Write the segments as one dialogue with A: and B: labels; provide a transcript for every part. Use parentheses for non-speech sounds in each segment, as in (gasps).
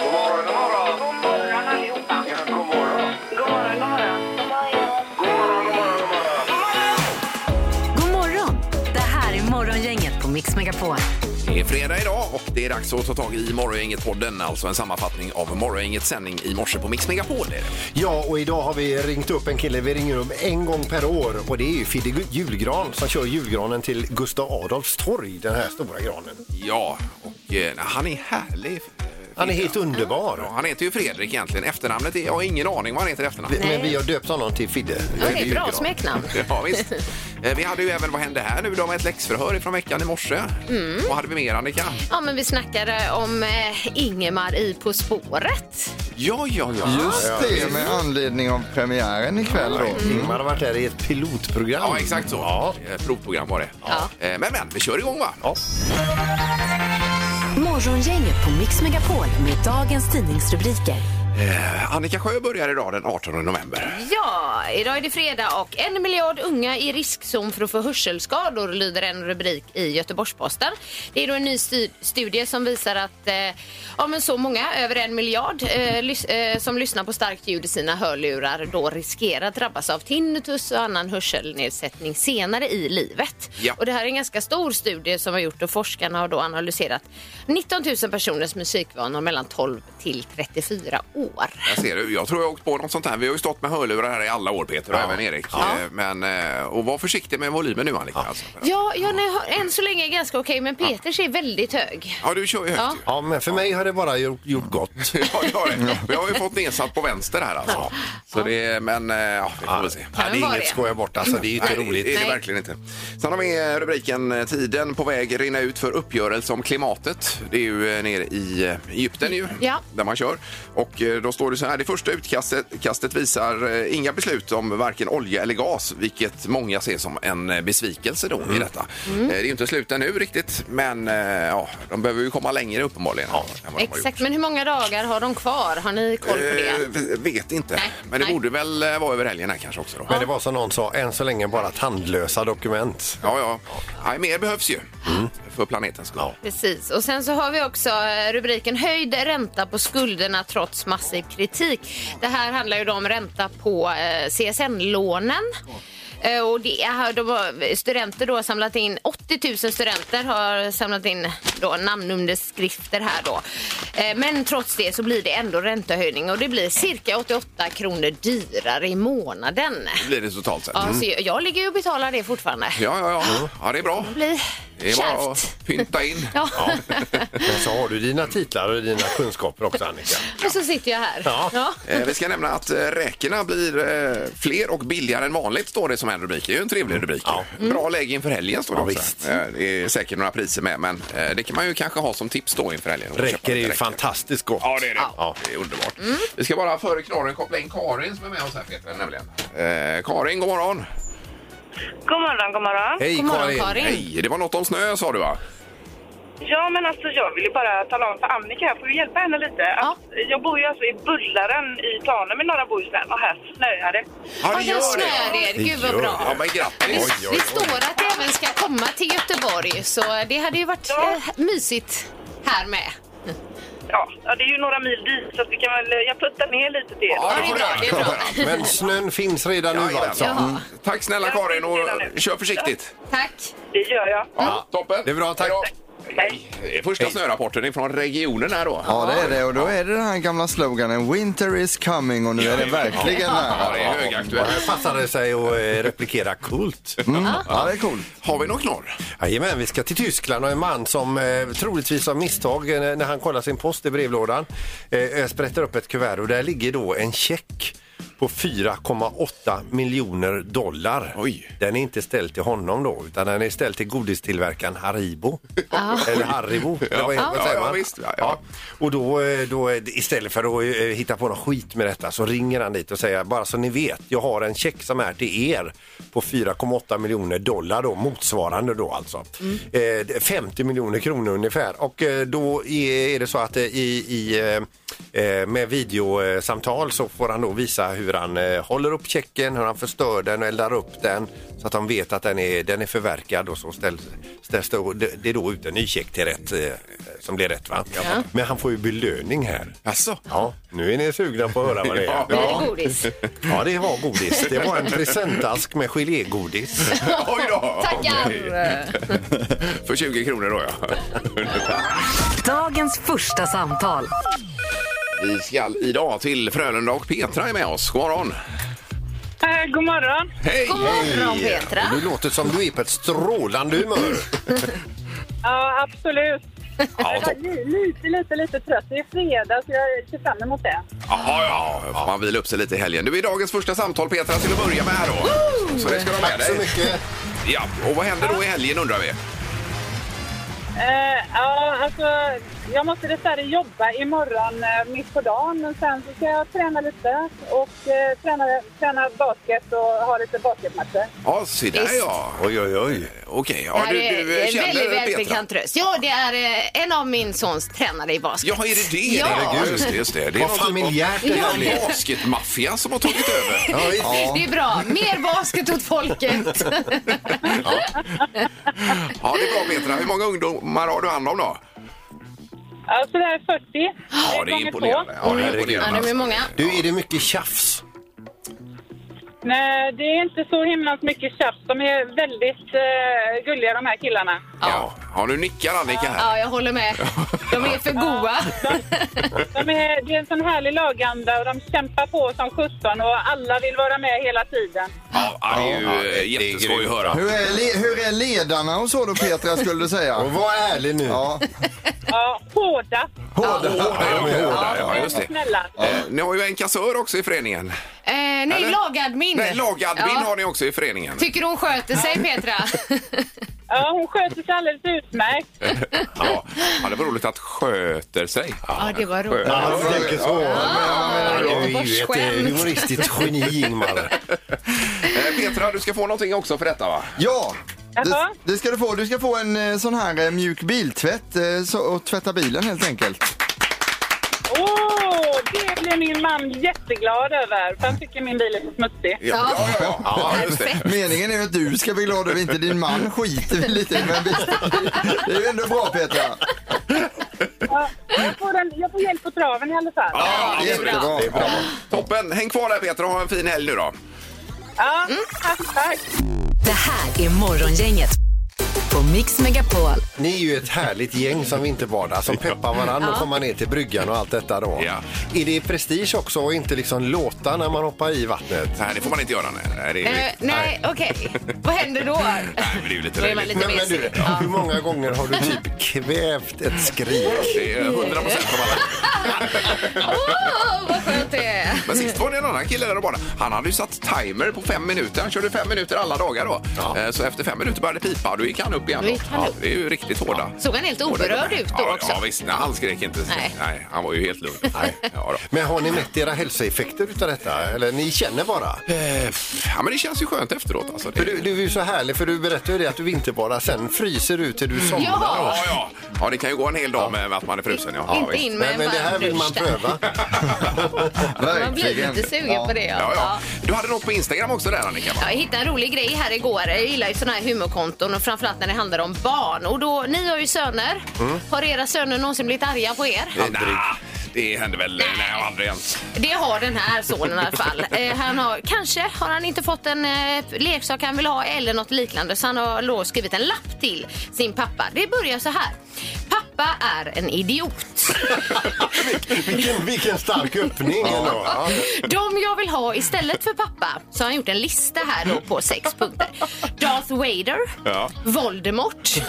A: God morgon, god morgon. God morgon allihopa. Ja, god morgon. God morgon, god morgon. God morgon, god morgon,
B: God
A: god morgon.
B: morgon! Det här är Morgongänget på Mix Megapol.
C: Det är fredag idag och det är dags att ta tag i Morgongänget-podden, alltså en sammanfattning av Morgongängets sändning i morse på Mix Megapol. är det.
D: Ja, och idag har vi ringt upp en kille. Vi ringer upp en gång per år och det är ju Fidde Gu- Julgran som kör julgranen till Gustav Adolfs torg, den här stora granen.
C: Ja, och eh, han är härlig. eh,
D: Han är
C: Fredrik.
D: helt
C: Ja,
D: underbar.
C: han heter ju Fredrik egentligen. Efternamnet är, jag har ingen aning vad han heter i efternamn.
D: Vi- Men vi har döpt honom till Fidde.
B: Okej,
D: Fidde
B: bra
D: Julgran.
B: smeknamn.
C: (laughs) Ja, visst. Eh, Vi hade ju även Vad hände här nu då med ett läxförhör från veckan i morse.
B: Mm.
C: Vad hade vi mer Annika?
B: Ja, men vi snackade om eh, Ingemar i På spåret.
C: Ja, ja, ja.
E: Just det, med anledning av premiären ikväll då.
D: Ingmar har varit där i ett pilotprogram.
C: Mm. Ja, exakt så.
D: Ja.
C: Eh, Provprogram var det.
B: Ja.
C: Eh, Men, men, vi kör igång va?
D: Ja.
B: Morgongänget på Mix Megapol med dagens tidningsrubriker.
C: Eh, Annika Sjö börjar idag den 18 november.
F: Ja, idag är det fredag och en miljard unga i riskzon för att få hörselskador lyder en rubrik i Göteborgs-Posten. Det är då en ny stu- studie som visar att eh, ja, men så många, över en miljard, eh, lys- eh, som lyssnar på starkt ljud i sina hörlurar då riskerar att drabbas av tinnitus och annan hörselnedsättning senare i livet.
C: Ja.
F: Och det här är en ganska stor studie som har gjort och forskarna har då analyserat 19 000 personers musikvanor mellan 12 till 34 år.
C: Jag ser du. Jag tror jag har åkt på något sånt här. Vi har ju stått med hörlurar här i alla år Peter och även Erik. Eh, Men, eh, och var försiktig med volymen nu Annika. Ja, alltså.
F: Ja, jag har än så länge är ganska okej, men Peters är väldigt hög.
C: ja du kör ju högt
F: Ja.
C: ju.
D: ja, men för mig har det bara gjort, gjort gott.
C: Ja, det har det. Vi har ju fått nedsatt på vänster här alltså. Så det är, men eh, ja, vi får väl se.
D: Ja, det
F: men
D: är
F: var
D: inget
F: det?
D: skoja bort alltså. Det är ju inte
C: Nej, Det är
D: roligt.
C: det
F: Nej.
C: verkligen inte. Sen har vi rubriken eh, Tiden på väg rinna ut för uppgörelse om klimatet. Det är ju eh, nere i eh, Egypten ju,
F: Ja.
C: där man kör. Och eh, då står det så här. Det första utkastet kastet visar eh, inga beslut om varken olja eller gas, vilket många ser som en eh, besvikelse då
D: Mm.
C: i detta.
F: Mm.
C: Eh, Det är ju inte slut ännu riktigt, men eh, ja, de behöver ju komma längre uppenbarligen. Ja,
F: Exakt, men hur många dagar har de kvar? Har ni koll på
C: Eh,
F: det?
C: vet inte,
F: Nej,
C: men det
F: nej.
C: borde väl eh, vara över helgen här kanske också. Då.
D: Men det var som någon sa, än så länge bara tandlösa dokument.
C: Ja, ja. Nej, mer behövs ju för planetens skull.
F: Precis. Och sen så har vi också eh, rubriken Höjd ränta på skulderna trots massiv kritik. Det här handlar ju då om ränta på eh, CSN-lånen. Eh, Och det är, de har, studenter då har samlat in, 80 000 studenter har samlat in då namnunderskrifter här då. Eh, Men trots det så blir det ändå räntehöjning och det blir cirka 88 kronor dyrare i månaden.
C: blir det totalt sett.
F: Ja, så jag, jag ligger ju och betalar det fortfarande.
C: Ja, ja,
D: Mm.
C: ja. ja, det är bra.
F: Det blir
C: Det är bara
F: kärvt.
C: att pynta in.
F: Ja.
D: Men så har du dina titlar och dina kunskaper också Annika.
F: Och (laughs) så sitter jag här.
D: Ja.
C: Eh, Vi ska nämna att eh, räkorna blir eh, fler och billigare än vanligt, står det som en rubrik. Det är ju en trevlig rubrik.
F: Mm.
C: Bra läge inför helgen, står det också.
D: Mm. visst.
C: Eh, Det är säkert några priser med, men eh, det kan man ju kanske ha som tips då inför helgen.
D: Räcker är ju
C: Räcker.
D: fantastiskt gott.
C: Ja, det är det.
D: Ja.
C: Det är underbart.
F: Mm.
C: Vi ska bara före knorren koppla in Karin som är med oss här, Peter, nämligen. Eh, Karin, god morgon.
G: God morgon, god morgon.
D: Hej
F: God morgon,
D: Karin!
F: Karin.
C: Hej, det var något om snö sa du va?
G: Ja, men alltså jag vill ju bara tala om för Annika, jag får ju hjälpa henne lite. Att Jag bor ju alltså i Bullaren i Tanum i norra Bohuslän och här snöar det.
C: Ja,
F: Ja, den snöade er. Gud vad
D: gör
F: bra.
C: Ja, men
F: Det,
C: grattis!
F: det står att det även ska komma till Göteborg, så det hade ju varit
G: Ja.
F: eh, mysigt här med.
G: Ja, ja, det är ju några mil dit så att vi kan väl, eh, jag puttar ner lite till er.
C: Ja,
F: det är bra, det är
D: (laughs)
F: bra.
D: Men snön finns redan nu
C: Jajamän.
D: alltså?
C: Mm. Tack snälla
G: Ja,
C: Karin
G: redan nu.
C: och kör försiktigt.
F: Tack.
G: Det gör jag.
C: Ja, toppen.
D: Det är bra, tack.
C: Hej då. Hej. Det är första snörapporten ifrån regionen här då.
E: Ja, det är det. Och då är det den här gamla sloganen Winter is coming och nu är den verkligen
C: Ja, det
E: här.
C: är högaktuellt.
D: Här passar det sig att eh, replikera kult.
E: Mm. Ja, det är coolt.
C: Har vi någon knorr?
D: Jajamän, vi ska till Tyskland och en man som eh, troligtvis av misstag eh, när han kollar sin post i brevlådan eh, sprätter upp ett kuvert och där ligger då en check på 4,8 miljoner dollar.
C: Oj.
D: Den är inte ställd till honom då, utan den är ställd till godistillverkaren
F: (laughs)
D: Haribo. Eller Haribo, eller vad,
C: Ja.
D: vad säger
C: Ja, ja,
D: man?
C: visst. Ja, ja.
D: Och då, eh, då eh, istället för att eh, hitta på någon skit med detta så ringer han dit och säger bara så ni vet, jag har en check som är till er på 4,8 miljoner dollar då, motsvarande då alltså. Eh, det är 50 miljoner kronor ungefär och eh, då är är det så att eh, i, i eh, eh, med videosamtal så får han då visa hur han eh, håller upp checken, hur han förstör den och eldar upp den så att de vet att den är, den är förverkad och så ställs, ställs det, det- det är då ut en ny check till rätt, eh, som blir rätt va? Men han får ju belöning här.
C: Alltså.
D: Ja, nu är ni sugna på att höra (laughs) vad det är.
F: Blir
C: (laughs)
F: det godis?
D: Ja, det var godis. Det var en presentask med gelégodis.
C: Oj då!
F: Tackar!
C: För 20 kronor då ja.
B: Dagens första samtal.
C: Vi ska idag till Frölunda och Petra är med oss. God morgon!
G: Eh, god morgon.
C: Hej!
F: God morgon Petra!
D: Du låter som du är på ett strålande humör.
G: Ja, absolut.
C: Ja, topp.
G: Lite, lite, lite trött. Det är fredag så jag ser fram emot det.
C: Jaha, ja, ja. Får man vila upp sig lite i helgen. Du är dagens första samtal Petra till att börja med här då. Så det ska du ha med
D: Tack så
C: dig.
D: mycket.
C: Ja, och vad händer då i helgen undrar vi?
G: Eh, ja, alltså, jag måste dessvärre jobba imorgon eh, mitt på dagen. Men sen så ska jag träna lite och eh, träna, träna basket och ha lite basketmatcher.
C: Ja, se där
F: Visst.
C: ja.
D: Oj, oj, oj.
C: Okej,
F: Det
C: ja,
F: här
C: du,
F: är
C: du
F: en
C: känner
F: väldigt
C: Petra?
F: välbekant röst. Ja, det är eh, en av min sons tränare i basket.
C: Ja, är det det?
F: Ja.
C: Herregud, just det. Just det. det är
D: Vad
C: någon typ av
D: familjärt det här blev.
C: Basketmaffia som har tagit
F: (laughs)
C: över.
D: Ja, visst.
F: Det är bra. Mer basket
C: (laughs)
F: åt folket.
C: Ja, det är bra Petra. Hur många ungdomar har du hand om då?
G: Ja, så Alltså, det här är 40.
C: Ja, det är
G: gånger
C: imponerande. Ja, det är
F: ja,
C: imponerande.
F: de är många.
D: Du, är det mycket tjafs?
G: två. Nej, det är inte så himla mycket tjafs. De är väldigt eh, gulliga de här killarna.
C: Ja. ja, nu nickar Annika här.
F: Ja, jag håller med. De är
C: (laughs)
F: för goa.
G: De är, det är en sån härlig laganda och de kämpar på som sjutton och alla vill vara med hela tiden.
C: Ja, ja, det är ju
D: Ja,
C: eh,
D: det är
C: jätteskoj att
D: grymt.
C: höra.
E: Hur är, le- hur är ledarna och så då Petra skulle du
D: Och
E: säga?
D: var ärlig nu.
E: Ja.
G: Ja, hårda
C: Hårda, ja, de är hårda. Ja, just
G: och
C: det.
G: snälla.
C: Eh, Ni har ju en kassör också i föreningen.
F: Eh, nej,
C: Eller?
F: lagadmin.
C: Nej, lagadmin
F: Ja.
C: har ni också i föreningen.
F: Tycker du hon sköter sig,
C: (laughs)
F: Petra?
G: Ja, hon sköter sig alldeles utmärkt.
C: Ja, ja, det var roligt att sköter sig.
F: Ja, det var roligt.
D: Ja, du tänker så.
F: Ja,
D: Du
F: det
D: är
F: var
D: ju ett
F: skämt.
D: eh, humoristiskt geni, Ingmar.
C: Eh, Petra, du ska få någonting också för detta va?
E: Ja, det,
G: Jaha.
E: det ska du få. Du ska få en eh, sån här eh, mjuk biltvätt eh, så, och tvätta bilen helt enkelt.
G: Åh, det blir min man jätteglad över. För han tycker min bil är så smutsig.
C: Ja, ja, ja. ja just det.
E: Meningen är ju att du ska bli glad över inte din man skiter vi lite i. Men visst, det är ju ändå bra Petra.
G: Ja, jag, får en, jag får hjälp på traven i alla fall.
C: Ja, absolut.
E: Jättebra.
C: Det är bra. Toppen! Häng kvar där Petra och ha en fin helg nu då.
G: Ja, tack, tack.
B: Det här är Morgongänget på Mix Megapol.
D: Ni är ju ett härligt gäng som vinterbadar som peppar varandra och kommer ner till bryggan och allt detta då.
C: Ja.
D: Är det prestige också att inte liksom låta när man hoppar i vattnet?
C: Nej, det får man inte göra. Nej, nej, det är
F: Eh,
C: nej,
F: nej, okej. Vad händer då?
C: men det är ju lite
F: Då är man
C: löjligt.
F: lite
D: Nej, men du,
F: mesig. Ja.
D: hur många gånger har du typ kvävt ett skrik?
C: Det är 100 procent av alla.
F: Åh, vad skönt det är.
C: Men sist var det en annan kille där och bara. Han hade ju satt timer på fem minuter. Han körde fem minuter alla dagar då. Eh, Så efter fem minuter började det pipa och då gick han upp igen.
F: Då gick han
C: Ja,
F: upp.
C: Det är ju riktigt hårda.
F: Såg han helt oberörd ut då
C: ja,
F: också?
C: Ja, visst. Nej, han skrek inte. Nej.
F: Nej.
C: han var ju helt
F: (laughs)
C: lugn. Nej. Ja, då.
D: Men har ni mätt era hälsoeffekter utav detta? Eller ni känner bara?
C: Eh, ja, men det känns ju skönt efteråt. Alltså. Det...
D: För du, du är ju så härlig, för du berättar ju det att du vinterbadar, sen fryser du till du somnar.
F: Ja.
C: Ja, ja. ja, det kan ju gå en hel dag med att man är frusen. Ja. Ja,
F: Inte
C: visst.
F: in med
D: Nej,
F: en
D: men det här
F: varm
D: vill man
F: dusch där.
D: pröva.
F: Man blir lite sugen på det.
C: Ja, ja. Du hade något på Instagram också där Annika? Va?
F: Ja, jag hittade en rolig grej här igår. Jag gillar ju såna här humorkonton och framförallt när det handlar om barn. Och då, ni har ju söner.
C: Mm.
F: Har era söner någonsin blivit arga på er?
C: Nah, det hände väl nej. aldrig ens.
F: Det har den här sonen i
C: (laughs)
F: alla fall. Eh, han har, kanske har han inte fått en eh, leksak han vill ha eller något liknande så han har då skrivit en lapp till sin pappa. Det börjar så här. Pappa är en idiot.
C: (laughs)
D: Vilken, vilken stark öppning ändå. Ja.
F: De jag vill ha istället för pappa så har han gjort en lista här då på sex punkter. Darth Vader,
C: Ja. (laughs)
F: Voldemort,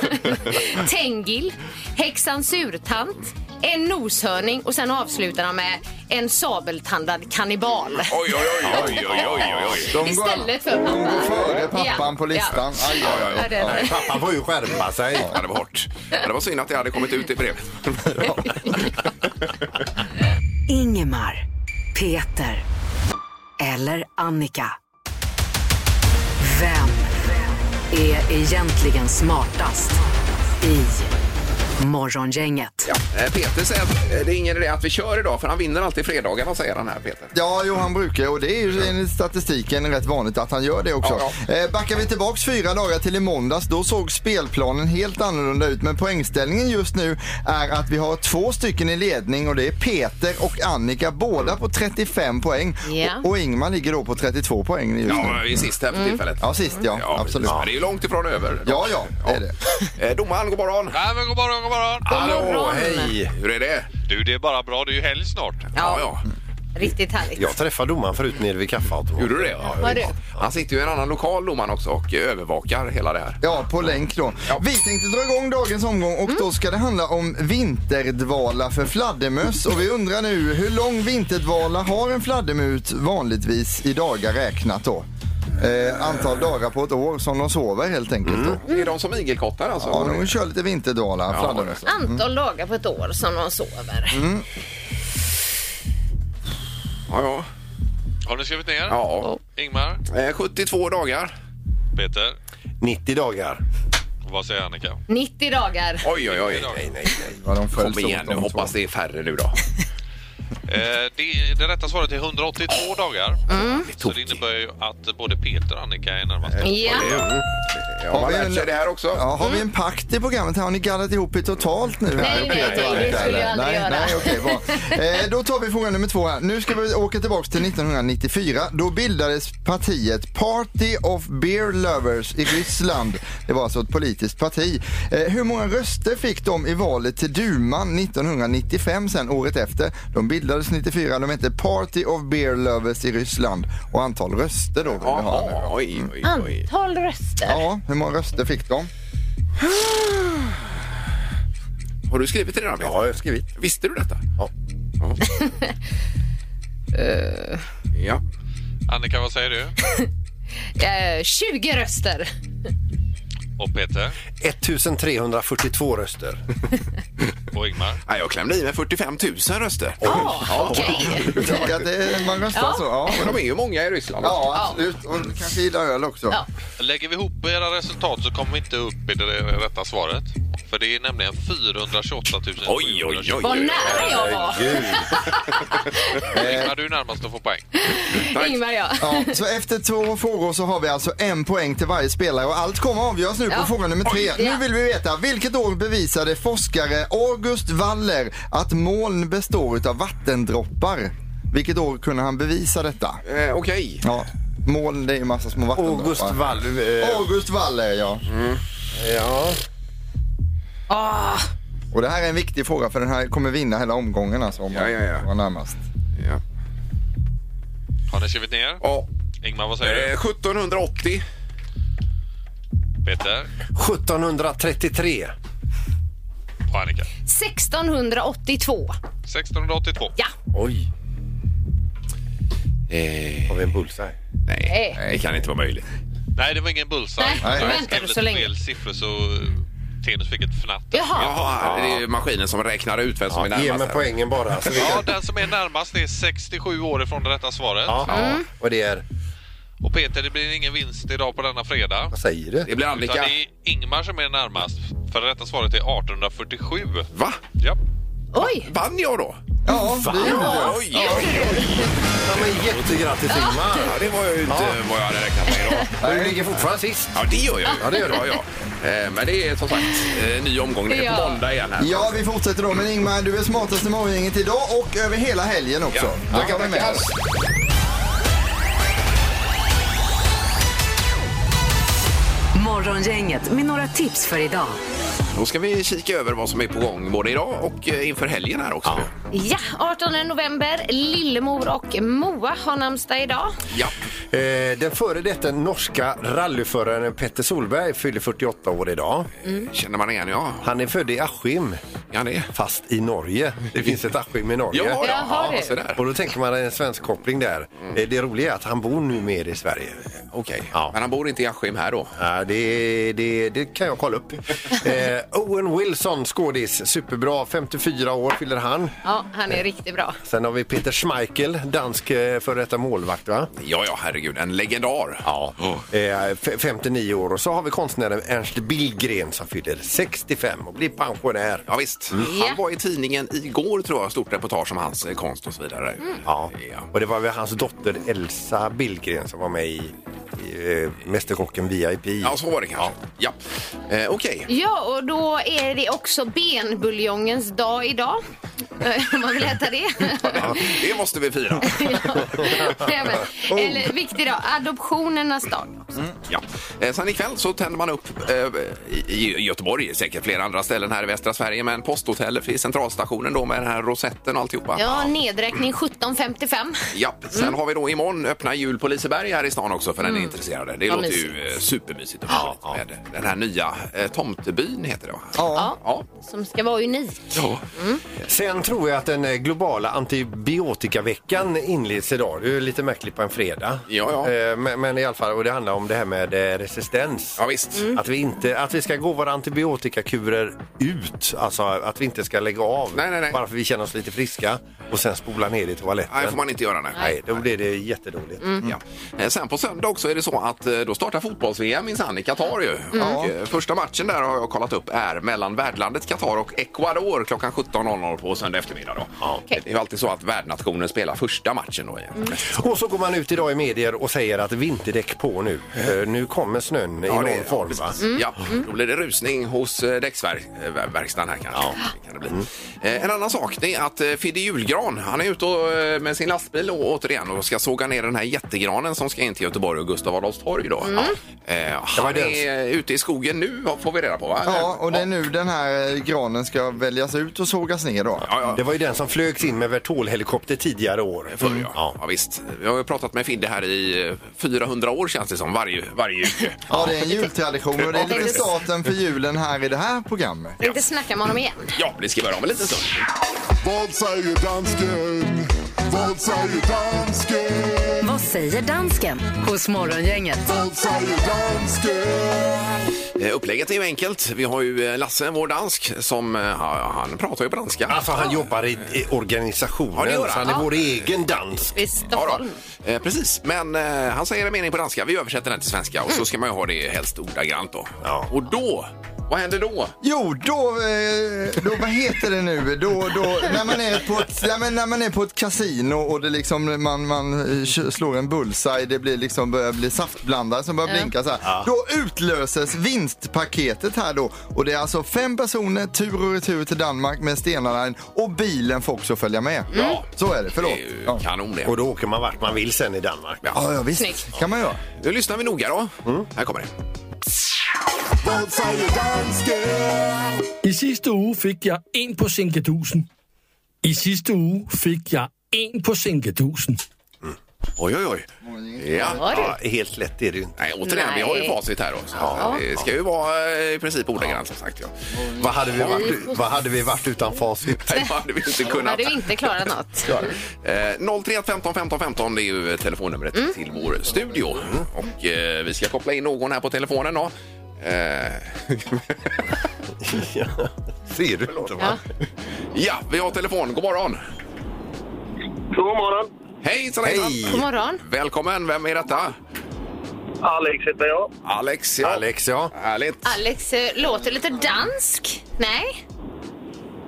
F: Tengil, häxan Surtant, en noshörning och sen avslutar han med en sabeltandad kannibal.
C: Oj, oj, oj, oj, oj, oj, oj.
E: De går-
F: Istället för pappa.
E: De går före pappan
F: Ja,
E: på listan.
F: ja.
E: Aj, aj, aj.
F: Ja, det är det.
D: Pappa får ju skärpa sig.
C: Ja, det var hårt. Ja, det var synd att det hade kommit ut i (laughs) brev.
B: Ingemar, Peter eller Annika. Vem är egentligen smartast i Morgongänget.
C: Eh, Peter säger att eh, det är ingen idé att vi kör idag för han vinner alltid fredagarna säger han här Peter.
E: Ja, jo, han brukar och det är ju enligt statistiken rätt vanligt att han gör det också.
C: Ja,
E: Eh, Backar vi tillbaks fyra dagar till i måndags, då såg spelplanen helt annorlunda ut. Men poängställningen just nu är att vi har två stycken i ledning och det är Peter och Annika, båda på 35 poäng.
F: Ja.
E: Och, och Ingmar ligger då på 32 poäng just nu.
C: Ja, vi är sist här för
F: Mm.
C: tillfället.
E: Ja, sist ja, absolut.
C: precis. Men Det är ju långt ifrån över.
E: Ja, ja, det är det.
C: Eh, Domaren, god morgon!
H: Nej, men god morgon, god morgon.
C: Hallå,
F: morgon.
C: hej! Hur är det?
H: Du, det är bara bra. Det är ju helg snart.
C: Ja, ja.
F: Riktigt härligt.
D: Jag träffade domaren förut nere vid kaffeautomaten.
C: Gjorde du det? Ja,
F: Vad är
C: visst. Han sitter ju i en annan lokal, domaren också, och eh, övervakar hela det här.
E: Ja, på länk då. Vi tänkte dra igång dagens omgång och då ska det handla om vinterdvala för fladdermöss. Och vi undrar nu, hur lång vinterdvala har en fladdermus vanligtvis i dagar räknat då? Eh, antal dagar på ett år som de sover helt enkelt då.
C: Är de som igelkottar alltså?
E: Ja, de alltså. kör lite vinterdvala,
C: Ja,
E: fladdermöss.
F: Antal dagar på ett år som de sover.
C: Mm. ja, ja.
H: Har ni skrivit ner?
C: ja.
H: Ingmar,
C: Eh, 72 dagar.
H: Peter,
D: 90 dagar.
H: vad säger Annika?
F: 90 dagar.
C: Oj, oj, oj.
H: dagar.
C: Nej, nej, nej.
E: Ja, de följs
C: Kom igen
E: åt,
C: nu,
E: de två.
C: hoppas det är färre nu då.
H: Eh, det, det rätta svaret är 182 dagar.
C: Mm.
H: Så det innebär ju att både Peter och Annika är närmast.
F: Ja.
C: Ja,
E: Har
C: man
E: vi
C: lärt
E: en-
C: sig det här också.
E: Ja, har vi en pakt i programmet? här? Har ni gaddat ihop er totalt nu?
F: Nej, nej, nej, det skulle jag aldrig
E: nej,
F: göra.
E: Nej, okej, bra. Eh, då tar vi fråga nummer två här. Nu ska vi åka tillbaka till 1994. Då bildades partiet Party of Beer Lovers i Ryssland. Det var alltså ett politiskt parti. Eh, hur många röster fick de i valet till duman 1995 sen året efter? De bildades 94. De hette Party of Beer Lovers i Ryssland. Och antal röster då vill vi ha nu.
C: Jaha, oj, oj,
F: Mm.
C: oj.
F: Antal röster.
E: Ja, hur många röster fick de?
C: Har du skrivit det redan? Peter?
D: Ja, jag har skrivit.
C: Visste du detta?
D: Ja.
C: (laughs) Ja. ja.
H: Annika, vad säger du?
F: Eh, 20 röster.
H: Och Peter?
D: 1342 röster.
H: Och Ingmar?
C: Nej, jag klämde i mig 45 000 röster.
F: Ja, okej.
E: Du tycker att det, man röstar så? Ja.
C: Men de är ju många i Ryssland.
E: Ja, absolut. Och kanske gillar öl också.
F: Ja.
H: Lägger vi ihop era resultat så kommer vi inte upp i det rätta svaret. För det är nämligen 428 000.
C: Oj, oj, oj.
F: Vad nära jag var.
H: Ingmar, du är närmast att få poäng.
C: Tack.
F: Ingmar, ja.
E: Ja, så efter två frågor så har vi alltså en poäng till varje spelare och allt kommer avgöras nu på
F: Ja.
E: fråga nummer tre.
F: Ja.
E: Nu vill vi veta, vilket år bevisade forskare August Waller att moln består av vattendroppar? Vilket år kunde han bevisa detta?
C: Eh, Okej.
E: Ja, moln det är ju massa små vattendroppar.
D: August Wall... Eh,
E: August Waller, ja.
D: ja.
F: Ah,
E: Och det här är en viktig fråga för den här kommer vinna hela omgången alltså om
C: Ja, ja, ja.
E: man var närmast.
C: Ja.
H: Har ni skrivit ner?
C: Ja.
H: Ingmar, vad säger
C: Eh,
H: du?
C: 1780.
H: Peter?
D: 1733.
H: Och Annika?
F: 1682.
H: 1682.
F: Ja.
D: Oj,
C: Eh,
D: Eh. har vi en bullseye?
C: nej,
F: Nej.
C: nej, det kan inte vara möjligt.
H: Nej, det var ingen bullseye.
F: Nej,
H: Jag
F: väntar
H: skrev
F: du
H: lite
F: så länge.
H: fel siffror så eh, Tenus fick ett fnatt.
F: Jaha.
C: Jaha, det är ju maskinen som räknar ut vem som är
D: Ja, ge
C: närmast.
D: mig
C: här.
D: poängen bara. Så vi
H: Ja,
D: kan...
H: den som är närmast är 67 år ifrån det rätta svaret.
D: ja. Mm. Och det är...
H: Och Peter, det blir ingen vinst idag på denna fredag.
D: Vad säger du?
C: Det blir
H: Utan
C: Annika.
H: det är Ingmar som är närmast. För det rätta svaret är 1847.
C: Va?
H: Ja.
F: Oj.
C: Vann jag då?
E: Ja, det gjorde jag.
C: Oj, oj,
D: Ja, men jättegrattis Ingmar!
C: ja, det var ju inte
D: Ja.
C: vad jag hade räknat med idag.
D: Du ligger fortfarande sist.
C: Ja, det gör jag ju.
D: Ja, det gör du.
C: Ja, ja. Eh, Men det är som sagt eh, ny omgång. Det är på
F: Ja.
C: måndag igen här.
E: Ja, vi fortsätter då. Men Ingmar, du är smartast i morgongänget idag och över hela helgen också.
C: Ja.
E: Det kan vi med oss.
B: Morgongänget med några tips för idag.
C: Då ska vi kika över vad som är på gång både idag och eh, inför helgen här också.
F: Ja, 18 november. Lillemor och Moa har namnsdag idag.
C: Ja.
D: Eh, den före detta norska rallyföraren Petter Solberg fyller 48 år idag.
C: Känner man igen, ja.
D: Han är född i Askim,
C: Ja, det.
D: fast i Norge. Det finns ett Askim i Norge.
C: Ja, ja,
F: Jaha,
C: ja,
F: du.
C: så där.
D: Och då tänker man en svensk koppling där. Eh, Det roliga är att han bor nu mer i Sverige.
C: okej.
D: Ja.
C: Men han bor inte i Askim här då?
D: Ja, det, det, det kan jag kolla upp. Eh, Owen Wilson, skådis. Superbra. 54 år fyller han.
F: Ja, han är riktigt bra.
D: Sen har vi Peter Schmeichel, dansk eh, före detta målvakt. Va?
C: Ja, ja, herregud. En legendar. Oh.
D: Ja. Eh, f- 59 år. Och så har vi konstnären Ernst Billgren som fyller 65 och blir pensionär.
C: Ja, visst.
D: Mm.
F: Ja.
C: Han var i tidningen igår, tror jag, stort reportage om hans eh, konst och så vidare.
F: Mm.
D: Ja.
C: Ja.
D: Och det var väl hans dotter Elsa Billgren som var med i, i eh, Mästerkocken VIP.
C: Ja, så var det kanske. Ja. Eh, Okej.
F: Ja, och då är det också benbuljongens dag idag. Eh, Om man vill äta (laughs) det.
C: Det måste vi fira.
F: Nej, men, Eller viktig dag, adoptionernas dag.
C: Ja. Eh, Sen ikväll så tänder man upp eh, i- i Göteborg, säkert flera andra ställen här i västra Sverige, men posthotell i centralstationen då med den här rosetten och alltihopa.
F: Ja, nedräkning 17.55.
C: Ja, sen har vi då imorgon öppna jul på Liseberg här i stan också för den är intresserade. Det
F: Ja,
C: låter ju
F: mysigt.
C: eh, supermysigt och ja, med den här nya eh, tomtebyn heter det va?
E: Ja.
C: Ja.
F: Som ska vara unik.
C: ja.
D: Sen tror jag att den eh, globala antibiotikaveckan inleds idag. Det är ju lite märkligt på en fredag.
C: Ja, ja.
D: Eh, Men, men i alla fall, och det handlar om det här med eh, resistens. Mm.
C: Ja, visst.
D: Att, vi inte, att vi ska gå våra antibiotikakurer ut, alltså att vi inte ska lägga av
C: Nej, nej, nej.
D: bara för vi känner oss lite friska och sen spola ner i toaletten.
C: Nej, får man inte göra nej.
D: Nej, då blir det jättedåligt.
C: Ja. Eh, Sen på söndag också är det så att eh, då startar fotbolls-VM minsann i Qatar ju. Och, eh, första matchen där har jag kollat upp är mellan värdlandet Qatar och Ecuador klockan 17.00 på söndag eftermiddag. Då. Det är ju alltid så att värdnationen spelar första matchen då. igen.
D: Och så går man ut idag i medier och säger att vinterdäck på nu. Eh, Nu kommer snön i
C: Ja,
D: någon
C: det-
D: form. Va?
C: precis. Ja, då blir det rusning hos eh, däcksverkstaden här kanske. Det Kan det bli. Eh, En annan sak det är att eh, Fidde Julgran, han är ute och, eh, med sin lastbil och, återigen och ska såga ner den här jättegranen som ska in till Göteborg och Gustav Adolfs torg då. Ja. Eh, Han
D: Det var den-
C: är ute i skogen nu får vi reda på va?
E: Ja, och det är nu den här eh, granen ska väljas ut och sågas ner då.
C: Ja, ja.
D: Det var ju den som flögs in med Vertol-helikopter tidigare år.
C: Förr, ja. Ja. visst. Vi har ju pratat med Fidde här i eh, 400 år känns det som, varje, varje jul.
E: Ja, det är en jultradition och det är lite
F: Precis.
E: starten för julen här i det här programmet.
F: Inte snacka med honom igen.
C: Ja, det ska vi göra om en liten stund.
I: Vad säger dansken? Vad säger dansken?
B: Vad säger dansken hos Morgongänget?
I: Vad säger dansken?
C: Eh, Upplägget är ju enkelt. Vi har ju eh, Lasse, vår dansk, som eh, ja, han pratar ju på danska.
D: Alltså han jobbar i, i organisationen,
C: Ja, det gör han.
D: så han är vår egen dans.
F: I
C: Ja,
F: Stockholm.
C: då. Eh, precis, men eh, han säger en mening på danska. Vi översätter den till svenska och så ska man ju ha det helst ordagrant då.
D: Ja.
C: Och då, vad händer då?
E: Jo, då, eh, då vad heter det nu? Då, då, när, man är på ett, ja, men när man är på ett kasino och det liksom, man, man eh, kö- slår en bullseye, det blir liksom, börjar bli saftblandare som börjar blinka så här. Då utlöses vinstpaketet här då. Och det är alltså fem personer tur och retur till Danmark med Stena Line och bilen får också följa med. Ja. Så är det,
C: Mm. Det
E: förlåt.
C: är ju
E: Ja.
C: kanon det.
D: Och då åker man vart man vill sen i Danmark.
E: Ja, ja, visst.
F: Snyggt.
E: kan man göra.
C: Nu lyssnar vi noga då. Här kommer det.
I: Vad säger dansken?
J: I sidste uge fik jeg en på sinkedusen. I sidste uge fik jeg en på sinkedusen.
C: Oj, oj, oj. Ja.
F: Ja, du.
D: Ja, helt lätt är det ju inte.
C: Nej, återigen, vi har ju
F: Nej.
C: facit här då. Så Det ska ju vara eh, i princip ordagrant som sagt. Ja.
D: Vad hade vi varit, vad hade vi varit utan facit?
C: Nej, det hade vi inte
F: Har
C: kunnat.
F: du inte klarat något?
C: Eh, 031 15 15 15 det är ju telefonnumret till vår studio. Och eh, vi ska koppla in någon här på telefonen då. Eh, (laughs)
D: Ser du inte?
F: Ja.
D: Va?
C: ja, vi har telefon. God morgon!
A: God morgon.
C: Hej,
D: Hej!
F: God morgon.
C: Välkommen! Vem är detta?
A: Alex heter jag.
C: Alex, ja.
D: Alex, ja.
C: Härligt!
F: Alex eh, låter lite dansk. Nej?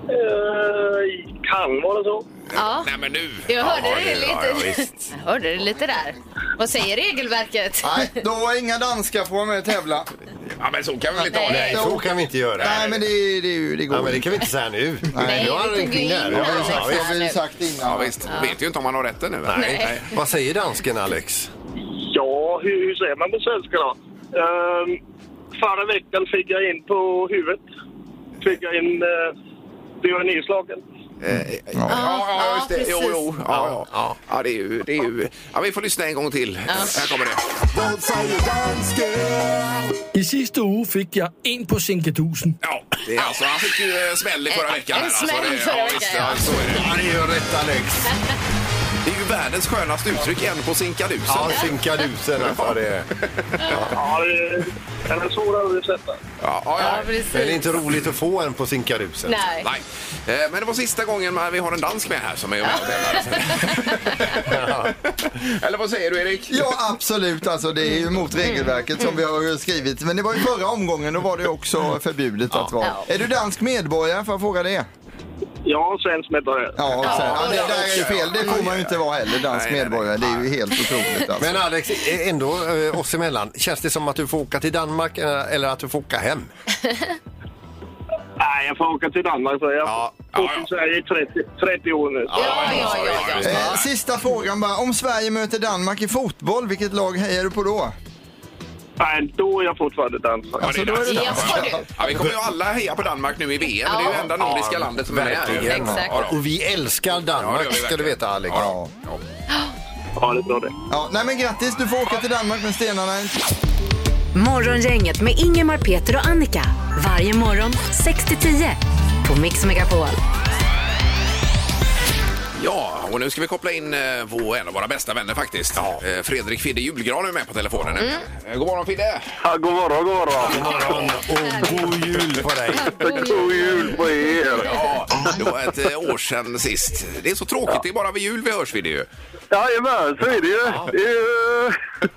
A: Eh, kan vara så.
F: Ja.
C: Nej, men nu!
F: Jag hörde det
C: Ja, ja,
F: lite.
C: visst.
F: (laughs) Jag hörde det lite där. Vad säger regelverket?
E: Nej, då var inga danskar får vara med och tävla.
C: ja, men så kan vi väl inte ha
D: Nej,
C: det?
D: så kan vi inte göra.
E: Nej, men det, det, det går
D: Ja, men det
E: inte.
D: kan vi inte säga nu.
E: Nej,
D: Nu har han
F: vi
D: ringt in
F: tog
D: här.
F: in
D: Ja,
F: honom.
D: ja,
E: Det
D: visst.
E: har vi ju sagt innan.
C: Ja, visst. Vet ju inte om man har rätt ännu. va?
D: Nej. Vad säger dansken, Alex?
A: Ja, hur, hur säger man på svenska då? Eh, förra veckan fick jag in på huvudet. Fick jag in... Uh, blev jag nedslagen.
C: Ja, ja, just det. Jo,
F: precis.
C: jo. Ja, ja. ja det är ju... Det är ju... Ja, vi får lyssna en gång till. Här kommer det.
I: Vad säger dansken?
J: I sidste uge fik jeg en på sinkedusen.
C: Ja, det är alltså, han fick ju eh, smäll i förra veckan.
F: En
C: här, alltså.
F: smäll
C: Det-
F: förra
C: ja, visst,
F: veckan, ja.
C: ja, så är det.
D: Ja, det gör rätt, Alex.
C: Det är ju världens skönaste uttryck, en på sinkadusen.
D: Ja, sinkadusen alltså. Det. är-
A: Ja, det är, den är svår att översätta.
C: Ja, ja, ja.
F: Ja, precis.
D: Men det är inte roligt att få en på sinkadusen.
F: Nej.
C: Nej. Eh, Men det var sista gången man- vi har en dansk med här som är med och (laughs) tävlar. Eller vad säger du Erik?
E: Ja, absolut. Alltså, det är ju mot regelverket som vi har skrivit. Men det var ju förra omgången, då var det också förbjudet att vara.
F: Ja.
E: Är du dansk medborgare? Får jag fråga det?
A: Ja, svensk medborgare.
E: Ja, och sen, ja, det
C: det
E: där är ju
C: också,
E: fel. Det får man ju inte vara heller, dansk
C: Nej, nej, nej.
E: medborgare. Det är ju helt otroligt alltså.
D: Men Alex, ä- ändå eh, oss emellan, känns det som att du får åka till Danmark eh, eller att du får åka hem?
A: Nej, jag får åka till Danmark. För jag
C: Ja, ja,
A: har bott
C: ja.
A: i Sverige i 30, 30 år nu.
F: Ja, ja, ja, ja.
E: Eh, sista frågan bara. Om Sverige möter Danmark i fotboll, vilket lag hejar du på då?
A: Nej, då är jag fortfarande dansk.
E: Alltså, då är det
F: Ja,
E: Danmark.
F: du.
C: Ja, vi kommer ju alla heja på Danmark nu i VM. Det är ju enda nordiska landet som är med.
D: verkligen.
C: Ja,
F: Exakt.
C: ja, ja.
D: Och vi älskar
C: Ja, det
D: Danmark
C: gör vi
D: ska du
C: verkligen.
D: veta Alex.
E: Ja.
A: Ja, det är bra det.
E: ja. Nej men grattis, du får åka till Danmark med stenarna.
B: Morgongänget med Ingemar, Peter och Annika. Varje morgon 6 till 10 på Mix Megapol.
C: Ja, och nu ska vi koppla in eh, vår, en av våra bästa vänner faktiskt. Eh, Fredrik Fidde Julgran är med på telefonen nu.
E: Mm.
C: Eh, God morgon Fidde!
A: Ja, god morgon, god morgon.
D: Och god jul på dig!
A: God jul på er.
C: Ja, det var ett eh, år sedan sist. Det är så tråkigt, det är bara vid jul vi hörs Fidde ju.
A: Jajamän, så är det ju. Det är ju-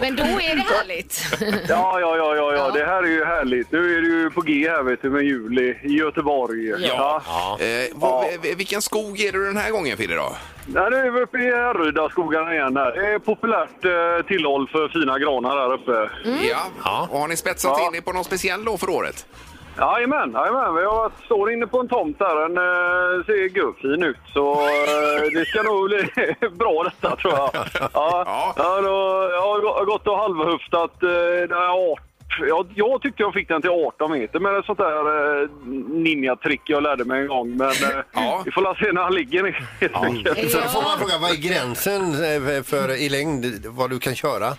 F: Men då är det härligt.
A: Ja, ja, ja, ja, ja, det här är ju härligt. Nu är det ju på G här vet du med jul i i Göteborg.
C: Ja. Eh, vad, eh, vilken skog är du den här gången Fidde då?
A: Nej, nu är vi uppe i Härrydaskogarna igen här. Det är populärt eh, tillhåll för fina granar här uppe.
E: Mm.
C: Ja. Och har ni spetsat in er på någon speciell då för året?
A: Jajamän, jajamän. Vi har varit, står inne på en tomt där. Den eh, ser gubbfin ut. Så eh, det ska nog bli (laughs) bra detta tror jag.
C: Ja.
A: Ja, ja. då, jag har gå- gått och halvhuftat. Eh, den här art- jag, jag tyckte jag fick den till 18 meter med ett sånt där eh, ninja-trick jag lärde mig en gång. Men eh,
C: Ja.
A: vi får la se när han ligger helt enkelt.
D: Så då får man fråga, vad är gränsen eh, för i längd vad du kan köra?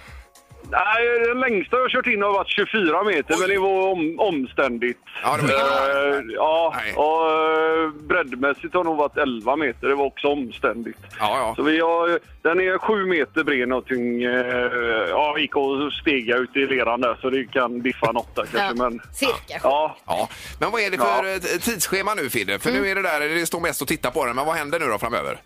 A: Nej, den längsta jag har kört in har varit 24 meter, men det var om, omständigt.
C: Ja, det var
A: Eh, ja,
C: Nej.
A: och eh, breddmässigt har det nog varit 11 meter. Det var också omständigt.
C: Ja,
A: Så
C: ja.
A: vi har, den är 7 meter bred och tyng. eh, Ja, gick och stega ut i leran där, så det kan diffa något där kanske. Men,
F: (laughs) Cirka sju.
A: ja,
C: ja. Men vad är det för eh, t- tidsschema nu Fidde? För
F: Mm.
C: nu är det där, det står mest att titta på den, men vad händer nu då framöver?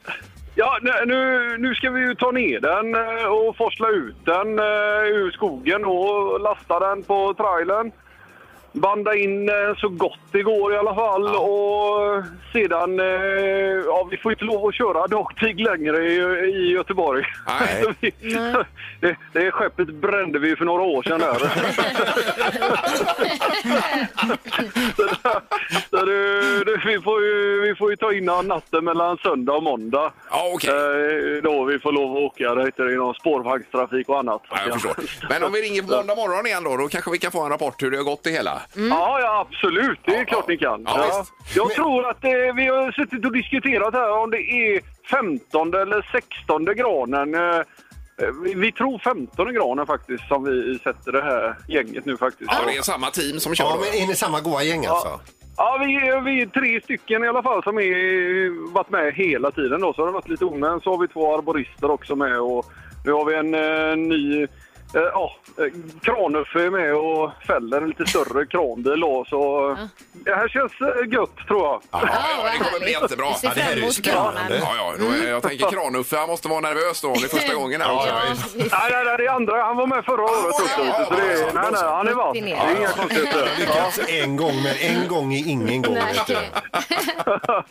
A: Ja, nu- nu, nu ska vi ju ta ner den eh, och forsla ut den eh, ur skogen och lasta den på trailern. Banda in eh, så gott det går i alla fall och sedan, eh, ja vi får inte lov att köra dagtid längre i, i Göteborg.
C: Nej.
A: (laughs) Så vi- det, det skeppet brände vi för några år sedan där. så där- så det, det, vi, får ju, vi får ju ta in den natten mellan söndag och måndag.
C: Ja, okej.
A: Eh, Då vi får lov att åka där ute inom spårvagnstrafik och annat.
C: Ja, jag förstår. Men om vi ringer på måndag morgon igen då, då kanske vi kan få en rapport hur det har gått det hela.
A: (laughs)
F: Mm.
A: Ja, ja, absolut. Det är
C: Ja,
A: klart
C: ja.
A: ni kan.
C: Ja,
A: Ja.
C: visst.
A: Jag tror att eh, vi har suttit och diskuterat här om det är 15 eller 16 granen. eh, Vi, vi tror 15 granen faktiskt som vi sätter det här gänget nu faktiskt.
C: Ja, det är samma team som kör
D: Ja,
C: då.
D: men är ni samma goa gäng alltså?
A: Ja, vi, vi är tre stycken i alla fall som har varit med hela tiden. Då. Så har det varit lite onödigt. Så har vi två arborister också med. Och nu har vi en eh, ny eh, ja, eh, kranuffe är med och fäller en lite större kranbil. Då, så det här känns eh, gött, tror jag.
C: Ja, ja, det kommer
F: härligt.
C: bli jättebra.
F: Vi ser
C: Ja,
D: det här är
F: fram
D: ju
F: emot
D: spännande.
F: granen.
C: Ja, ja, då, eh, jag tänker Kranuffe, han måste vara nervös då om det är första gången här också.
F: (laughs) Ja, vi-
A: Nej, nej, nej, det är andra. Han var med förra året
C: var
A: också.
C: det?
A: Så det,
C: Ja,
A: är- nej, nej, han är vass.
F: Vi
A: Det
F: ner.
A: är inga konstigheter. Ja.
D: Lyckats Alltså, en gång, men en gång är ingen gång.
F: Nej,
D: vet du.
F: okej.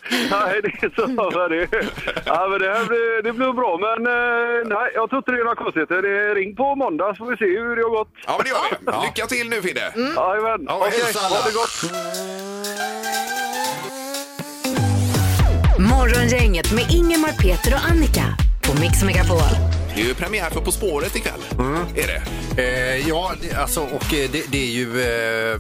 A: (laughs) nej, det är så vad det är. ja, men det, här blir, det blir bra, men eh, nej, jag tror inte det är några konstigheter. Det är ring på måndag så får vi se hur det har gått.
C: Ja, men det gör vi. Lycka till nu Fidde!
F: Mm.
A: Jajamän.
D: Ja, hälsa alla.
A: Ha det gott.
B: Morgongänget med Ingemar, Peter och Annika på Mix Megapol.
C: Det är ju premiär för På spåret
D: Mm.
C: ikväll. Är det?
D: Eh, ja, det, alltså, och eh, det, det är ju... Eh,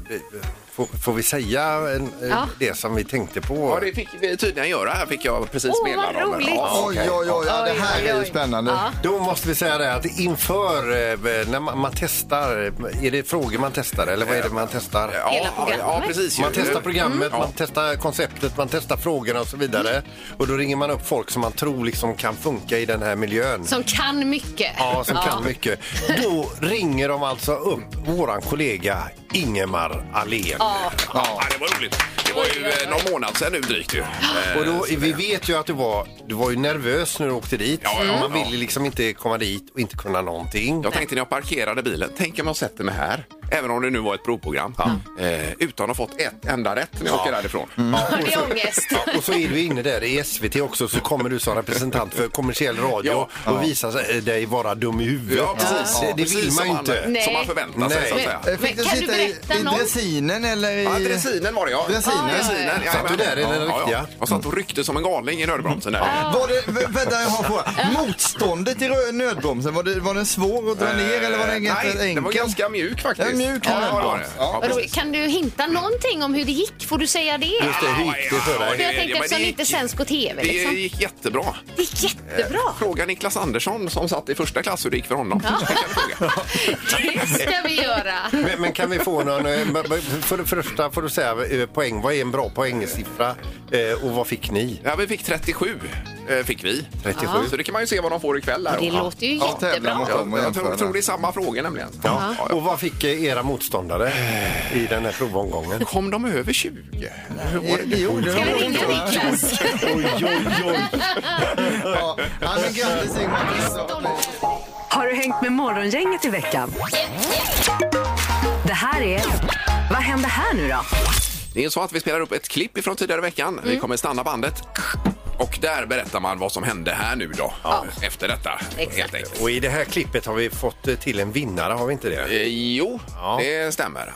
D: Får, får vi säga en, eh,
F: Ja.
D: det som vi tänkte på?
C: Ja, det fick vi tydligen göra. Här fick jag precis
F: Åh, vad
C: meddelande om.
F: roligt.
C: Ja,
E: Oj,
C: okej.
E: oj, oj, ja, det här
F: Oj, oj,
E: är ju
F: oj.
E: spännande.
F: Ja.
D: Då måste vi säga det att inför eh, när man, man testar, är det frågor man testar eller vad är det man testar?
C: Ja,
F: Hela programmet.
C: Ja, precis. ju. Mm.
D: Man testar programmet,
C: Ja.
D: man testar konceptet, man testar frågorna och så vidare. Och då ringer man upp folk som man tror liksom kan funka i den här miljön.
F: Som kan mycket.
D: Ja, som kan mycket. Då ringer de alltså upp våran kollega Ingemar Ahlén.
C: Ja, det var roligt. Det var ju eh, någon månad sedan nu drygt ju. Eh,
D: Och då,
C: så
D: vi
C: det-
D: vet ju att du var, du var ju nervös när du åkte dit.
C: Ja, ja,
D: man
C: ja.
D: ville liksom inte komma dit och inte kunna någonting.
C: Jag tänkte när jag parkerade bilen, tänk om jag sätter mig här, även om det nu var ett provprogram, eh, utan att ha fått ett enda rätt när jag åker därifrån.
D: Mm.
F: Ja, Det är ångest.
D: Ja, och så är du inne där i SVT också så kommer du som representant för kommersiell radio
C: Ja.
D: och visar sig- eh, dig vara dum i huvudet.
C: Ja, precis.
D: Det,
C: Ja,
D: det
C: precis
D: vill man
C: som
D: ju inte.
C: Man, som man
F: Nej.
C: förväntar sig,
D: Nej. Eh,
C: så att säga.
E: Eh,
F: Men
E: Fick du
F: kan du
E: sitta i,
F: berätta
E: i
F: någon-
E: dressinen eller i...
C: Ja, dressinen var det, ja.
E: Dressinen.
C: ja, dressinen.
F: Ja, ja,
C: ja.
D: Satt du där i den riktiga?
C: Jag satt och ryckte som en galning i nödbromsen där.
E: Var det, vä- vänta, jag har en fråga. Motståndet i rö- nödbromsen, var, det, var den svår att dra ner eller var den
C: Eh,
E: ganska
C: Nej,
E: enkel?
C: den var ganska mjuk faktiskt.
E: Ja, mjuk
C: ja,
E: var den.
C: det var det.
E: Ja.
F: Vadå, Kan du hinta någonting om hur det gick? Får du säga det?
D: Just det, hur gick det för
C: Ja,
D: dig?
F: För jag
C: det-
F: tänkte
C: men
F: eftersom
C: det
F: det
C: gick-
F: inte sänds på tv.
C: Det
F: Liksom.
C: gick jättebra.
F: Det är jättebra!
C: Fråga Niklas Andersson som satt i första klass hur det gick för honom. Det kan vi fråga.
F: (laughs) Det ska vi göra.
D: Men, men kan vi få någon... eh, b- b- För det första får du säga eh, poäng. Vad är en bra poängsiffra? Eh, Och vad fick ni?
C: Ja, vi fick 37. eh, Fick vi.
D: 37.
C: Så det kan man ju se vad de får ikväll. Här.
F: Det låter ju
E: Ja, tävla
F: jättebra.
E: mot dem och
C: Jag tror,
E: jämföra.
C: tror det är samma frågor nämligen.
D: Ja. Och vad fick eh, era motståndare i den här provomgången?
C: Kom de över 20? Hur var
E: Det- det gjorde
F: Ska vi
E: den.
F: ringa Niklas?
E: Ja, Ja, men grattis Ingmar.
B: Har du hängt med Morgongänget i veckan? Det här är... Vad händer här nu då?
C: Det är så att vi spelar upp ett klipp ifrån tidigare i veckan. Vi kommer stanna bandet. Och där berättar man vad som hände här nu då. Efter detta.
F: Exakt.
C: Helt enkelt.
D: Och i det här klippet har vi fått eh, till en vinnare, har vi inte det?
C: Eh, Jo,
D: Ja.
C: det stämmer.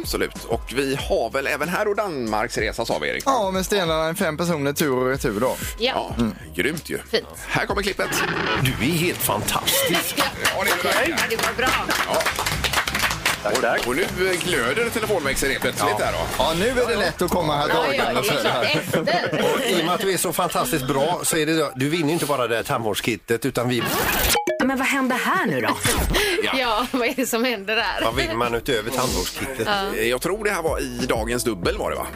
C: Absolut. Och vi har väl även här och Danmarks resa sa vi Erik?
E: Ja, men stenarna är fem personer tur och retur då.
F: Ja.
C: Ja, Grymt ju.
F: Fint.
C: Här kommer klippet.
D: Du är helt fantastisk!
C: Ja, det är det verkligen.
F: ja, det var bra.
C: och, och nu glöder telefonväxeln helt plötsligt där då.
E: Ja, nu är det lätt att komma här
F: Ja, ja,
E: dragande.
F: det är klart. Efter.
D: Och (laughs) I och med att du är så fantastiskt bra så är det, du vinner ju inte bara det här tandvårdskittet utan vi,
B: Men vad händer här nu då?
F: Ja, vad är det som händer där?
D: vad vinner man utöver tandvårdskittet?
C: Eh, Jag tror det här var i dagens dubbel var det
F: (gasps)
C: va?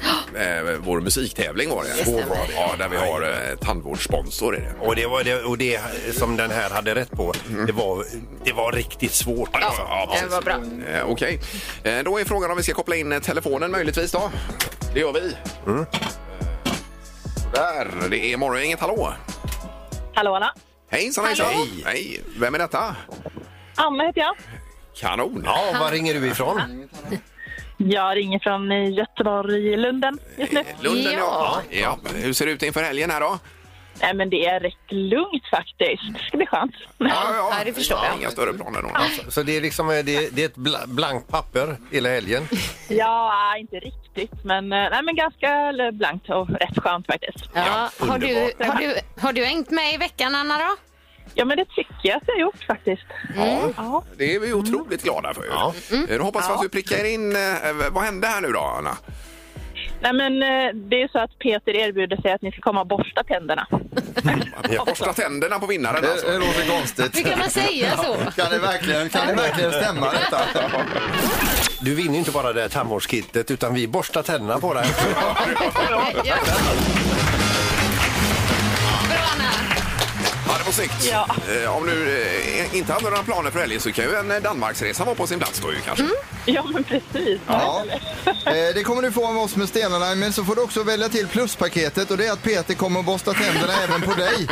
C: Eh, vår musiktävling var det.
F: Det stämmer.
C: Vår- Ja, där vi har eh, tandvårdssponsor är det.
D: Och det, var det, och det som den här hade rätt på, det var, det var riktigt svårt. alltså.
F: det var bra.
C: Eh, Okej, eh, då är frågan om vi ska koppla in eh, telefonen möjligtvis då. Det gör vi. Eh, Där, det är morgongänget. Hallå!
G: Hallå, Anna.
C: Hejsan, hejsan!
F: Hallå.
C: Hej. Hej! Vem är detta?
G: Anna heter jag.
C: Kanon!
D: Ja, var ringer du ifrån?
G: Jag ringer från eh, Göteborg, Lunden just nu.
C: Lunden, ja.
F: Ja.
C: ja. Hur ser det ut inför helgen här då?
G: Nej, men det är rätt lugnt faktiskt. Det ska bli skönt.
F: (laughs)
G: (laughs)
F: ja, det förstår jag.
C: Inga större planer då.
D: Så det är liksom eh, det, det är ett bla- blankt papper hela helgen.
G: Ja, inte riktigt, men, eh, nej, men ganska blankt och rätt skönt faktiskt.
F: Ja,
D: Ja,
F: har, du,
D: underbart.
F: har, du, har du hängt med i veckan, Anna? Då?
G: Ja, men det tycker jag att jag har gjort faktiskt.
C: Ja, det är vi otroligt glada för. ju.
D: Ja.
C: Eh, Då hoppas vi att du prickar in... eh, Vad hände här nu då, Anna?
G: Nej, men eh, det är så att Peter erbjuder sig att ni ska komma och borsta tänderna. (laughs)
C: Borsta tänderna på vinnaren
E: Det, det
C: alltså.
E: låter konstigt.
F: Hur kan man säga så?
E: Kan det verkligen, kan det verkligen stämma detta?
D: Du vinner ju inte bara det här tandvårdskittet utan vi borstar tänderna på dig. också.
F: Ja. Bra, Anna.
C: Ja, det var snyggt.
G: Ja.
C: Eh, Om du eh, inte hade några planer för helgen så kan ju en eh, Danmarksresa vara på sin plats då ju kanske.
G: Ja, men precis.
E: Ja. Eh, Det kommer du få av oss med stenarna, men så får du också välja till pluspaketet och det är att Peter kommer att borsta tänderna även på dig.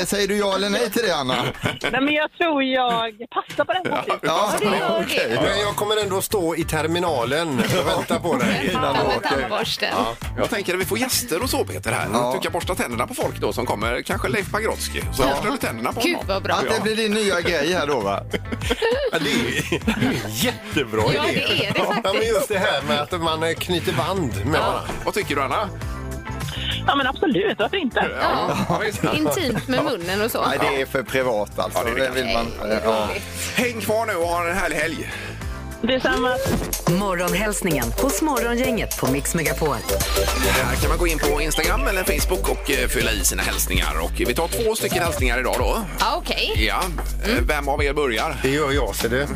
E: Eh, Säger du ja eller nej till det, Anna?
G: Nej, men jag tror jag passar på den faktiskt.
E: Ja,
F: Du hör det.
D: Men jag kommer ändå stå i terminalen och vänta på dig.
F: Ja, med tandborsten.
C: Jag tänker att vi får gäster och så Peter här. Du kan borsta tänderna på folk då som kommer. Kanske Leif Pagrotsky. Så borstar du tänderna på
F: Gud,
C: honom.
F: vad bra.
E: Att det blir din nya grej här då, va?
D: Ja, det är det är en jättebra
F: Ja,
D: idé.
F: det är det
D: Ja, men
F: faktiskt.
D: just det här med att man eh, knyter band med varandra.
C: Vad tycker du Anna?
G: Ja, men absolut. Varför inte?
C: Ja, visst.
F: Intimt med munnen och så.
E: Nej, det är för privat alltså.
C: Ja, det är det
E: Det vill man,
F: Nej, vad
E: ja.
F: roligt.
C: Häng kvar nu och ha en härlig helg.
G: Detsamma.
B: Morgonhälsningen hos Morgongänget på Mix Megapol.
C: Här kan man gå in på Instagram eller Facebook och eh, fylla i sina hälsningar. Och vi tar två stycken hälsningar idag då.
F: Ja, Okej.
C: Ja, eh, vem av er börjar?
D: Det gör jag, ser du.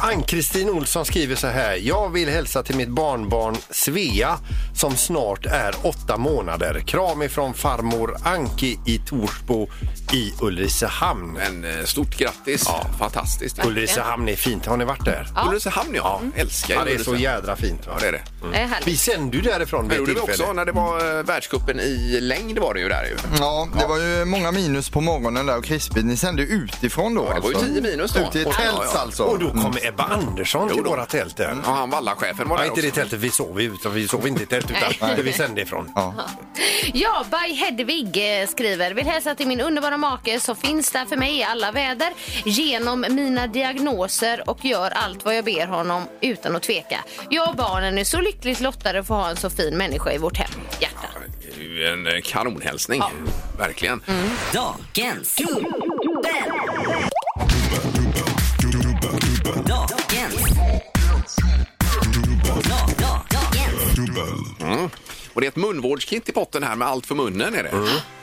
D: Ann-Kristin Olsson skriver så här. Jag vill hälsa till mitt barnbarn Svea som snart är åtta månader. Kram ifrån farmor Anki i Torsbo i Ulricehamn.
C: Men eh, stort grattis. Fantastiskt.
D: Ulricehamn är fint. Har ni varit där?
C: Ulricehamn, ja. Älskar
D: Ja, det är så
C: Ulricehamn.
D: jädra fint. Va?
C: Ja, det är det.
F: Mm. Det är härligt.
D: Vi sände ju därifrån
C: Mm. Det
D: vid ett
C: gjorde vi
D: tillfälle.
C: också när det var eh, världscupen i längd var det ju där ju.
E: Ja, det var ju många minus på morgonen där och krispigt. Ni sände ju utifrån då.
C: Ja, det var ju
E: alltså.
C: 10 minus då.
E: Ute i
C: Ja,
E: ett
C: ja,
E: tält
C: ja.
E: alltså.
D: Och då kom
C: Mm.
D: Ebba Andersson till våra tält där.
C: Ja, han vallachefen var
D: Nej,
C: där
D: inte det
C: också.
D: tältet vi sov i, utan vi sov inte i tält utan
E: Nej.
D: det vi sände ifrån.
E: Ja.
F: Ja, by Hedvig eh, skriver. Vill hälsa till min underbara make som finns där för mig i alla väder genom mina diagnoser och gör allt vad jag ber honom utan att tveka. Jag och barnen är så lyckligt lottade att få ha en så fin människa i vårt hem. Hjärta.
C: Det Mm. är ju En eh, kanonhälsning. Verkligen.
K: Dagens dubbel. Dagens. Da- da- Dagens.
C: Mm. Och det är ett munvårdskit i potten här med allt för munnen är det.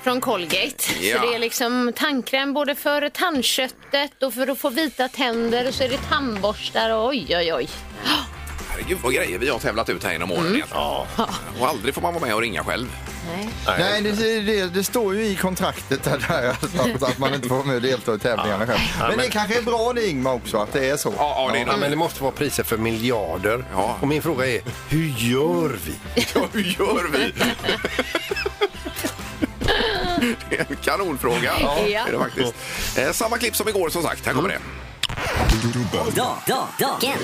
F: Från Colgate.
C: Ja.
F: Så det är liksom tandkräm både för tandköttet och för att få vita tänder och så är det tandborstar och oj, oj, oj.
C: Herregud vad grejer vi har tävlat ut här genom åren. egentligen. Och aldrig får man vara med och ringa själv.
F: Nej.
E: Nej, det, det, det står ju i kontraktet där, där alltså, att man inte får vara med och delta i tävlingarna själv. Men det kanske är bra det Ingmar också, att det är så.
C: Ja, ja, det är
D: Ja, men det måste vara priser för miljarder.
C: Ja.
D: Och min fråga är, hur gör vi?
C: Ja, hur gör vi? Det är en kanonfråga.
F: Ja.
C: Är det faktiskt. Eh, samma klipp som igår som sagt. Här kommer
D: Mm.
C: det.
K: Da- da- Dagens.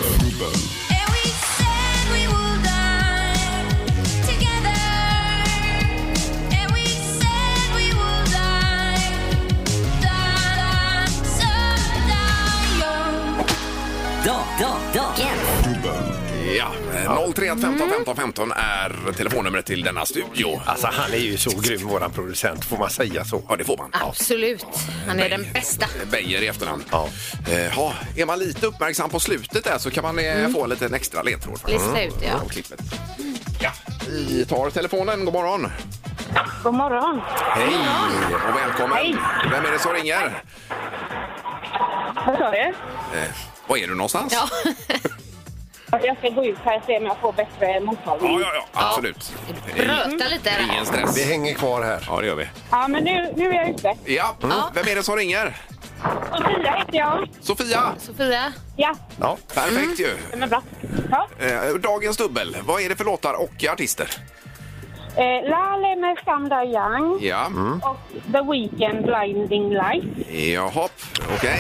K: Da- da- Dagens.
C: Ja, eh, 031 15 15 15 är telefonnumret till denna studio.
D: Alltså han är ju så grym våran producent, får man säga så?
C: Ja, det får man.
F: Absolut. Han är den bästa.
C: Beijer i efternamn.
D: Ja.
C: Eh, ja, är man lite uppmärksam på slutet där så kan man eh, få en liten extra ledtråd.
F: Lista ut, Mm. ja.
C: Om klippet. Ja, vi tar telefonen. God morgon.
G: God morgon.
C: Hej och välkommen.
G: Hej.
C: Vem är det som ringer?
G: Vad sa du?
C: Eh, var är du någonstans?
F: Ja. (laughs)
G: Jag ska gå ut här och se om jag får bättre
C: Ja,
G: mottagning.
C: ja, ja absolut.
F: Bröta lite
C: Det är
F: där.
C: Ingen stress.
D: Vi hänger kvar här.
C: Ja, det gör vi.
G: Ja, men nu, nu är jag ute.
C: Ja, vem är det som ringer?
G: Sofia heter jag.
C: Sofia!
F: Sofia?
G: Ja,
D: Ja.
C: Perfekt ju.
G: den Mm. är bra. Ja.
C: Eh, dagens dubbel. Vad är det för låtar och artister?
G: Eh, Lale med Skam Dai Young
C: Ja.
D: Mm.
G: och The Weeknd Blinding Light.
C: Jaha, okej.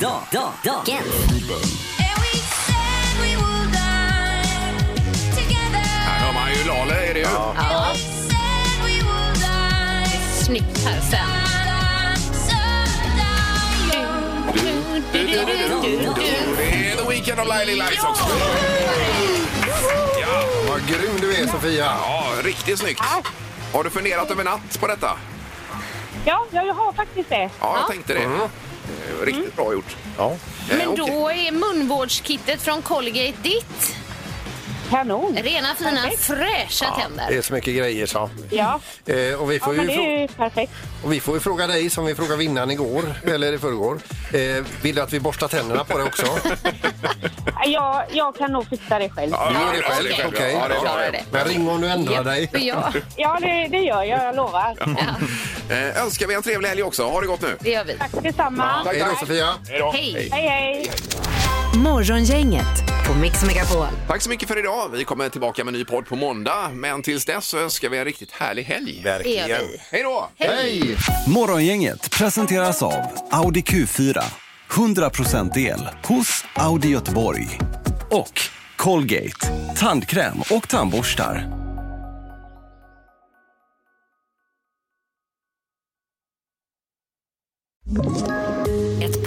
K: Da- da- Dagens.
C: Här har man ju Lale, är det ju.
F: Ja. Snyggt här sen.
C: Du, du, du, du, du, du. Det är The Weeknd och Lily Lights också. Ja,
D: Vad grym du är Sofia!
C: ja, riktigt snyggt. Har du funderat över natt på detta?
G: Ja, ja, jag har faktiskt det.
C: Ja, jag tänkte det. Eh, Riktigt bra gjort.
D: Mm. Ja.
C: Eh,
F: Men
C: okej.
F: då är munvårdskittet från Colgate ditt.
G: Kanon.
F: Rena, fina, fräscha
D: Det
F: tänder.
D: är så mycket grejer så.
G: Ja,
D: Eh, och, vi
G: ja
D: får
G: men
D: ju
G: det
D: frå-
G: är ju perfekt.
D: och vi får ju fråga dig som vi frågade vinnaren igår, eller i förrgår. Eh, vill du att vi borstar tänderna på dig
G: (laughs)
D: också?
G: Jag, jag kan nog fixa det själv.
C: Ja,
D: Du gör
C: ja,
D: det själv?
C: det är
D: Okej.
C: själv, ja. Ja, det är bra.
F: Klarar det.
D: Men ring om du ändrar dig.
F: Japp, Ja,
G: Ja, det, det gör jag. Jag lovar.
C: Eh, önskar vi en trevlig helg också. Ha det gott nu.
F: det gör vi.
G: Tack detsamma.
D: Hej då Sofia!
F: Hej!
G: Hej, hej.
B: Morgongänget på Mix Megapol.
C: Tack så mycket för idag. Vi kommer tillbaka med en ny podd på måndag. Men tills dess så önskar vi en riktigt härlig helg.
F: Det gör vi.
C: Hej då!
E: Hej!
L: Morgongänget presenteras av Audi Q4. 100% el hos Audi Göteborg. Och Colgate. Tandkräm och tandborstar.
K: Ett